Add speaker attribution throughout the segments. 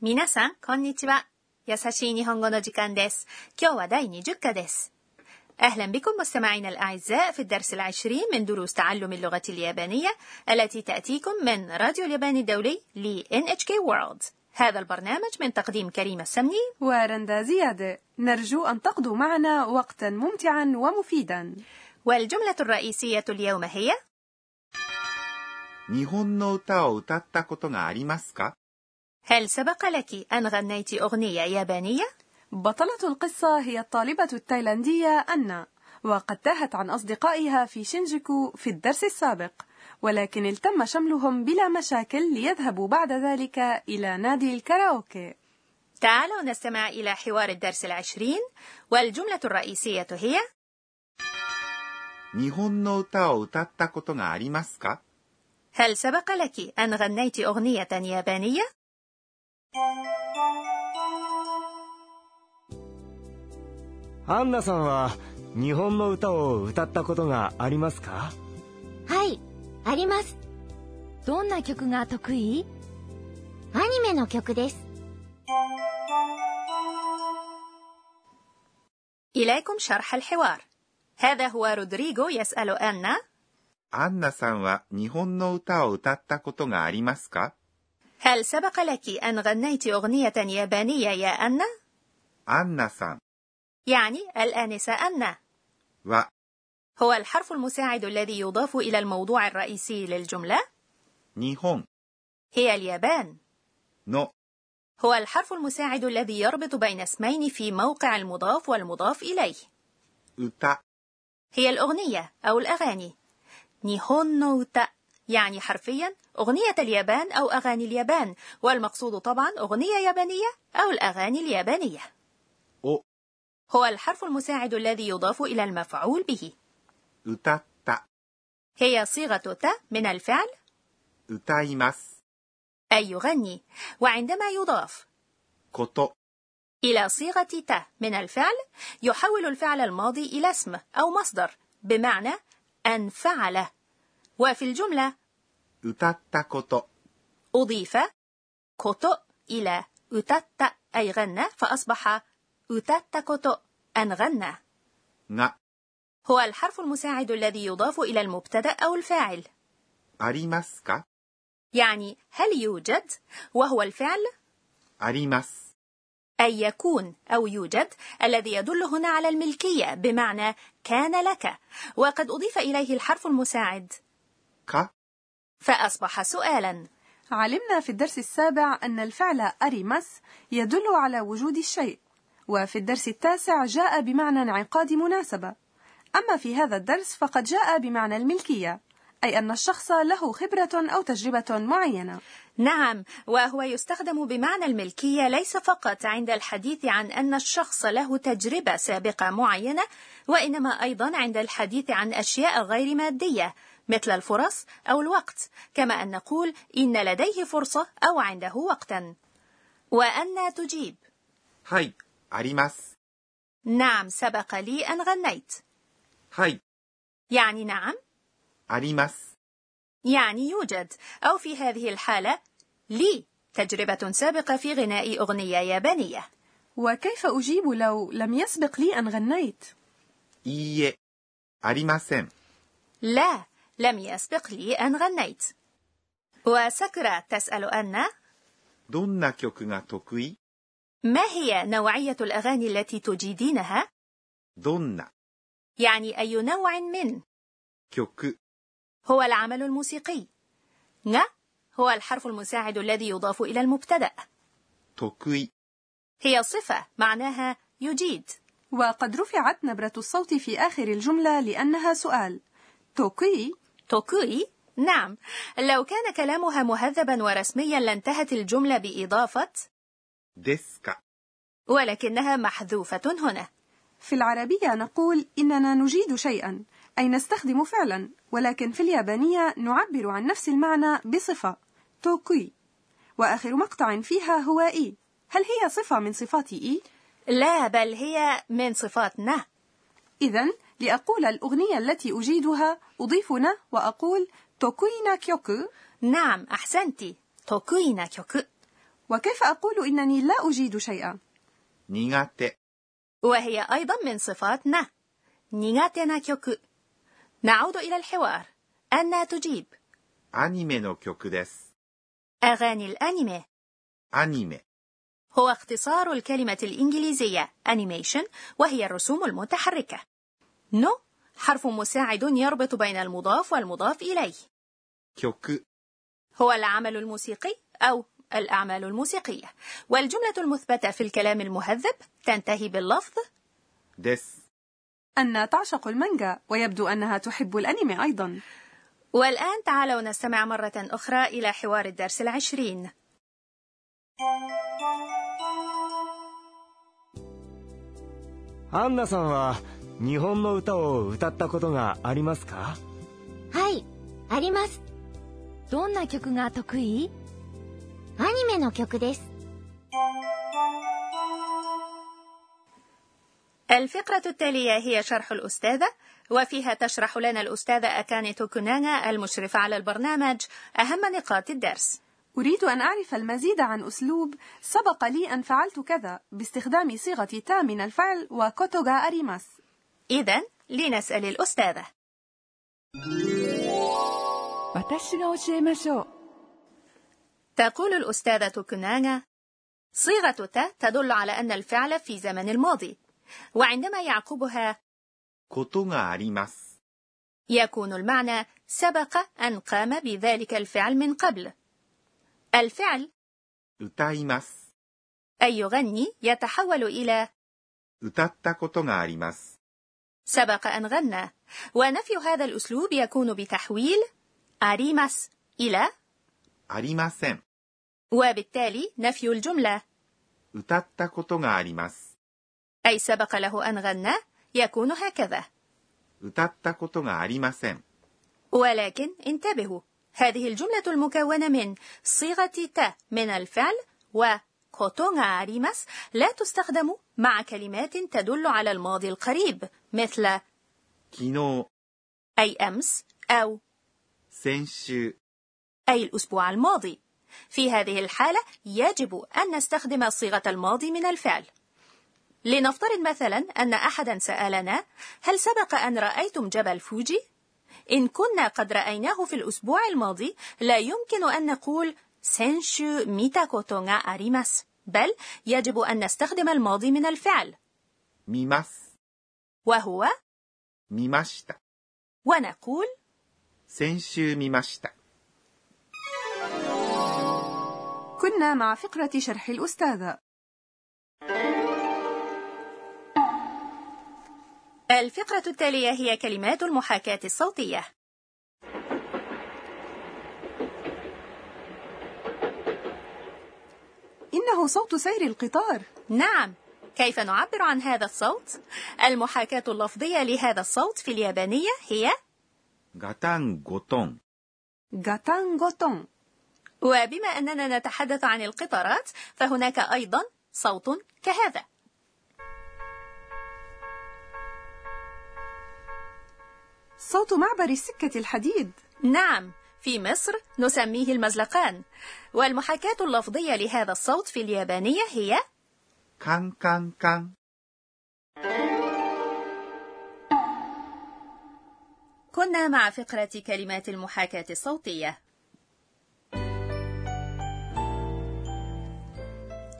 Speaker 1: 皆さん、こんにちは。優しい日本語の時間です。今日は第20課です。أهلا بكم مستمعينا الأعزاء في الدرس العشرين من دروس تعلم اللغة اليابانية التي تأتيكم من راديو اليابان الدولي ل NHK World هذا البرنامج من تقديم كريم السمني
Speaker 2: ورندا زياد نرجو أن تقضوا معنا وقتا ممتعا ومفيدا
Speaker 1: والجملة الرئيسية اليوم هي
Speaker 3: 日本の歌を歌ったことがありますか
Speaker 1: هل سبق لك أن غنيت أغنية يابانية؟
Speaker 2: بطلة القصة هي الطالبة التايلاندية أنا وقد تاهت عن أصدقائها في شينجوكو في الدرس السابق ولكن التم شملهم بلا مشاكل ليذهبوا بعد ذلك إلى نادي الكاراوكي
Speaker 1: تعالوا نستمع إلى حوار الدرس العشرين والجملة الرئيسية هي
Speaker 3: 日本の歌を歌ったことがありますか
Speaker 1: هل سبق لك أن غنيت أغنية يابانية؟
Speaker 4: アンナさんは日本の歌を歌ったことがありますか
Speaker 5: はい、あります。
Speaker 6: どんな曲が得意
Speaker 5: アニメの曲です。
Speaker 1: إليكم شرح الحوار هذا هو رودريغو يسأل أنا
Speaker 3: アンナさんは日本の歌を歌ったことがありますか
Speaker 1: هل سبق لك أن غنيت أغنية يابانية يا أنا؟
Speaker 3: アンナさ
Speaker 1: يعني الآنسة أنا
Speaker 3: んは
Speaker 1: هو الحرف المساعد الذي يضاف إلى الموضوع الرئيسي للجملة
Speaker 3: 日本
Speaker 1: هي اليابان
Speaker 3: の
Speaker 1: هو الحرف المساعد الذي يربط بين اسمين في موقع المضاف والمضاف إليه
Speaker 3: 歌
Speaker 1: هي الأغنية أو الأغاني نيهون نوتا يعني حرفيا أغنية اليابان أو أغاني اليابان والمقصود طبعا أغنية يابانية أو الأغاني اليابانية
Speaker 3: を
Speaker 1: هو الحرف المساعد الذي يضاف إلى المفعول به
Speaker 3: 歌った
Speaker 1: هي صيغة ت من الفعل
Speaker 3: 歌います
Speaker 1: أي يغني وعندما يضاف
Speaker 3: こと
Speaker 1: إلى صيغة ت من الفعل يحول الفعل الماضي إلى اسم أو مصدر بمعنى أن فعل وفي الجملة
Speaker 3: 歌ったこと
Speaker 1: أضيف كوتو إلى أتت أي غنى فأصبح أتت كوتو أن غنى
Speaker 3: が
Speaker 1: هو الحرف المساعد الذي يضاف إلى المبتدأ أو الفاعل
Speaker 3: ありますか
Speaker 1: يعني هل يوجد وهو الفعل
Speaker 3: あります。
Speaker 1: أي يكون أو يوجد الذي يدل هنا على الملكية بمعنى كان لك وقد أضيف إليه الحرف المساعد
Speaker 3: か
Speaker 1: فأصبح سؤالا
Speaker 2: علمنا في الدرس السابع أن الفعل أريمس يدل على وجود الشيء وفي الدرس التاسع جاء بمعنى انعقاد مناسبة أما في هذا الدرس فقد جاء بمعنى الملكية أي أن الشخص له خبرة أو تجربة معينة
Speaker 1: نعم وهو يستخدم بمعنى الملكية ليس فقط عند الحديث عن أن الشخص له تجربة سابقة معينة وإنما أيضا عند الحديث عن أشياء غير مادية مثل الفرص أو الوقت كما أن نقول إن لديه فرصة أو عنده وقتا وأن تجيب
Speaker 3: はい、あります。
Speaker 1: نعم سبق لي أن غنيت
Speaker 3: はい、
Speaker 1: يعني نعم
Speaker 3: あります。
Speaker 1: يعني يوجد أو في هذه الحالة لي تجربة سابقة في غناء أغنية يابانية
Speaker 2: وكيف أجيب لو لم يسبق لي أن غنيت؟
Speaker 3: いいえ、ありません。
Speaker 1: لا لم يسبق لي أن غنيت وسكرة تسأل أن
Speaker 3: どんな曲が得意
Speaker 1: ما هي نوعية الأغاني التي تجيدينها؟
Speaker 3: どんな
Speaker 1: يعني أي نوع من
Speaker 3: 曲
Speaker 1: هو العمل الموسيقي ن هو الحرف المساعد الذي يضاف إلى المبتدأ
Speaker 3: 得意
Speaker 1: هي صفة معناها يجيد
Speaker 2: وقد رفعت نبرة الصوت في آخر الجملة لأنها سؤال توكي
Speaker 1: توكوي نعم لو كان كلامها مهذبا ورسميا لانتهت الجملة بإضافة
Speaker 3: ですか
Speaker 1: ولكنها محذوفة هنا
Speaker 2: في العربية نقول إننا نجيد شيئا أي نستخدم فعلا ولكن في اليابانية نعبر عن نفس المعنى بصفة توكي وآخر مقطع فيها هو إي هل هي صفة من صفات إي؟
Speaker 1: لا بل هي من صفات نه
Speaker 2: إذا لأقول الأغنية التي أجيدها أضيف نا وأقول توكوينا كيوكو
Speaker 1: نعم أحسنت توكوينا كيوكو
Speaker 2: وكيف أقول إنني لا أجيد شيئا؟
Speaker 3: 苦手、
Speaker 1: وهي أيضا من صفات نا نيغاتنا كيوكو نعود إلى الحوار أنا تجيب
Speaker 3: アニメの曲です。
Speaker 1: أغاني الأنمي
Speaker 3: アニメ、
Speaker 1: هو اختصار الكلمة الإنجليزية animation وهي الرسوم المتحركة نو حرف مساعد يربط بين المضاف والمضاف إليه
Speaker 3: 曲、
Speaker 1: هو العمل الموسيقي أو الأعمال الموسيقية والجملة المثبتة في الكلام المهذب تنتهي باللفظ
Speaker 3: です。
Speaker 2: أن تعشق المانجا ويبدو أنها تحب الأنمي أيضا
Speaker 1: والآن تعالوا نستمع مرة أخرى إلى حوار الدرس العشرين
Speaker 4: アンナさんは日本の歌を歌ったことがありますか
Speaker 5: はい、あります。
Speaker 6: どんな曲が得意
Speaker 5: アニメの曲です。
Speaker 1: الفقرة التالية هي شرح الأستاذة وفيها تشرح لنا الأستاذة أكاني توكوناغا المشرفة على البرنامج أهم نقاط الدرس
Speaker 2: أريد أن أعرف المزيد عن أسلوب سبق لي أن فعلت كذا باستخدام صيغة تا من الفعل وكوتوغا أريماس
Speaker 1: إذا لنسأل الأستاذة
Speaker 7: 私が教えましょう
Speaker 1: تقول الأستاذة توكوناغا صيغة تا تدل على أن الفعل في زمن الماضي وعندما يعقبها
Speaker 3: ことがあります。
Speaker 1: يكون المعنى سبق أن قام بذلك الفعل من قبل الفعل
Speaker 3: 歌います。
Speaker 1: أي يغني يتحول إلى
Speaker 3: 歌ったことがあります。
Speaker 1: سبق أن غنى ونفي هذا الأسلوب يكون بتحويل أريماس إلى
Speaker 3: ありません。
Speaker 1: وبالتالي نفي الجملة
Speaker 3: 歌ったことがあります。
Speaker 1: أي سبق له أن غنى يكون هكذا
Speaker 3: 歌ったことがありません。
Speaker 1: ولكن انتبهوا هذه الجملة المكونة من صيغة تا من الفعل و كوتوغا أريماس لا تستخدم مع كلمات تدل على الماضي القريب مثل
Speaker 3: 昨日、
Speaker 1: أي أمس أو
Speaker 3: 先週、
Speaker 1: أي الأسبوع الماضي. في هذه الحالة يجب أن نستخدم صيغة الماضي من الفعل. لنفترض مثلا أن أحدا سألنا: هل سبق أن رأيتم جبل فوجي؟ إن كنا قد رأيناه في الأسبوع الماضي، لا يمكن أن نقول سينشو ميتا كوتوغا أريماس، بل يجب أن نستخدم الماضي من الفعل،
Speaker 3: 見ます。
Speaker 1: وهو
Speaker 3: 見ました。
Speaker 1: ونقول
Speaker 3: 先週見ました。
Speaker 2: كنا مع فقرة شرح الأستاذة
Speaker 1: الفقرة التالية هي كلمات المحاكاة الصوتية.
Speaker 2: إنه صوت سير القطار
Speaker 1: نعم كيف نعبر عن هذا الصوت المحاكاه اللفظيه لهذا الصوت في اليابانيه هي
Speaker 3: ガタンゴトン、
Speaker 2: غاتان غوتون
Speaker 1: وبما اننا نتحدث عن القطارات فهناك ايضا صوت كهذا
Speaker 2: صوت معبر السكة الحديد
Speaker 1: نعم في مصر نسميه المزلقان والمحاكاه اللفظيه لهذا الصوت في اليابانيه هي
Speaker 3: カンカンカン、
Speaker 1: كنا مع فقره كلمات المحاكاه الصوتيه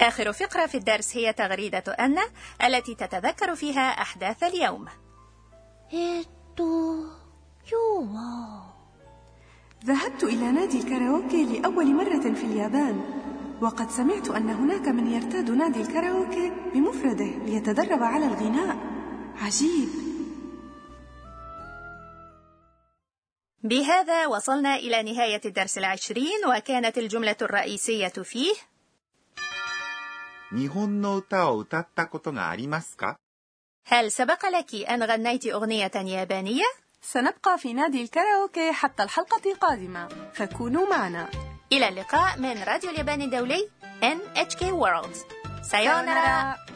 Speaker 1: اخر فقره في الدرس هي تغريده ان التي تتذكر فيها احداث اليوم
Speaker 5: えーっと、今日は、
Speaker 2: ذهبت إلى نادي الكاراوكي لأول مرة في اليابان وقد سمعت أن هناك من يرتاد نادي الكاراوكي بمفرده ليتدرب على الغناء عجيب
Speaker 1: بهذا وصلنا إلى نهاية الدرس العشرين وكانت الجملة الرئيسية فيه
Speaker 3: 日本の歌を歌ったことがありますか
Speaker 1: هل سبق لك أن غنيت أغنية يابانية؟
Speaker 2: سنبقى في نادي الكاراوكي حتى الحلقة القادمة فكونوا معنا
Speaker 1: إلى اللقاء من راديو اليابان الدولي NHK World سايونارا